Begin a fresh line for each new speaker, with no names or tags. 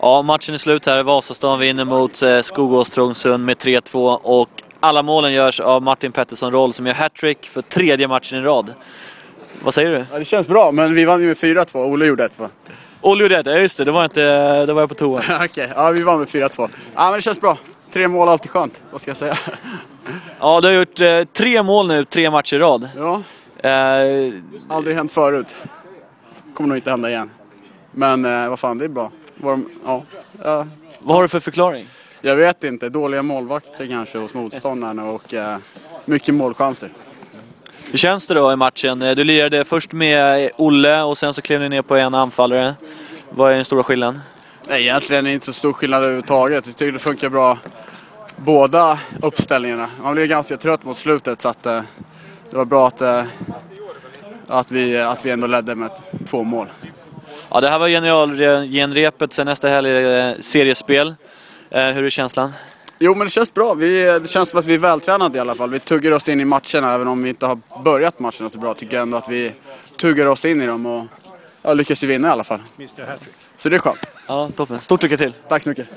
Ja, matchen är slut här. Vasastan vinner mot eh, Skogås Trångsund med 3-2 och alla målen görs av Martin Pettersson Roll som gör hattrick för tredje matchen i rad. Vad säger du?
Ja, det känns bra, men vi vann ju med 4-2. Olle gjorde ett va?
Olle gjorde ett, ja just det, det var, inte, det var jag på toa.
Okej, ja vi vann med 4-2. Ja men det känns bra. Tre mål är alltid skönt, vad ska jag säga?
Ja, du har gjort eh, tre mål nu, tre matcher i rad.
Ja,
Eh,
aldrig hänt förut. Kommer nog inte hända igen. Men eh, vad fan, det är bra. Var de, ja. ja.
vad har du för förklaring?
Jag vet inte, dåliga målvakter kanske hos motståndarna och eh, mycket målchanser.
Hur känns det då i matchen? Eh, Du lirade först med Olle och sen så klev ni ner på en anfallare. Vad är den stora skillnaden?
Nej, egentligen är det inte så stor skillnad överhuvudtaget. Jag tycker det funkar bra båda uppställningarna. Man blev ganska trött mot slutet så att eh, det var bra att, eh, att, vi, att vi ändå ledde med två mål.
Ja, det här var generalgenrepet, sen nästa helg är det seriespel. Eh, hur är känslan?
Jo men det känns bra. Vi, det känns som att vi är vältränade i alla fall. Vi tuggar oss in i matcherna även om vi inte har börjat matcherna så bra tycker jag ändå att vi tuggar oss in i dem och ja, lyckas ju vinna i alla fall. Så det är skönt.
Ja, toppen. Stort lycka till!
Tack så mycket.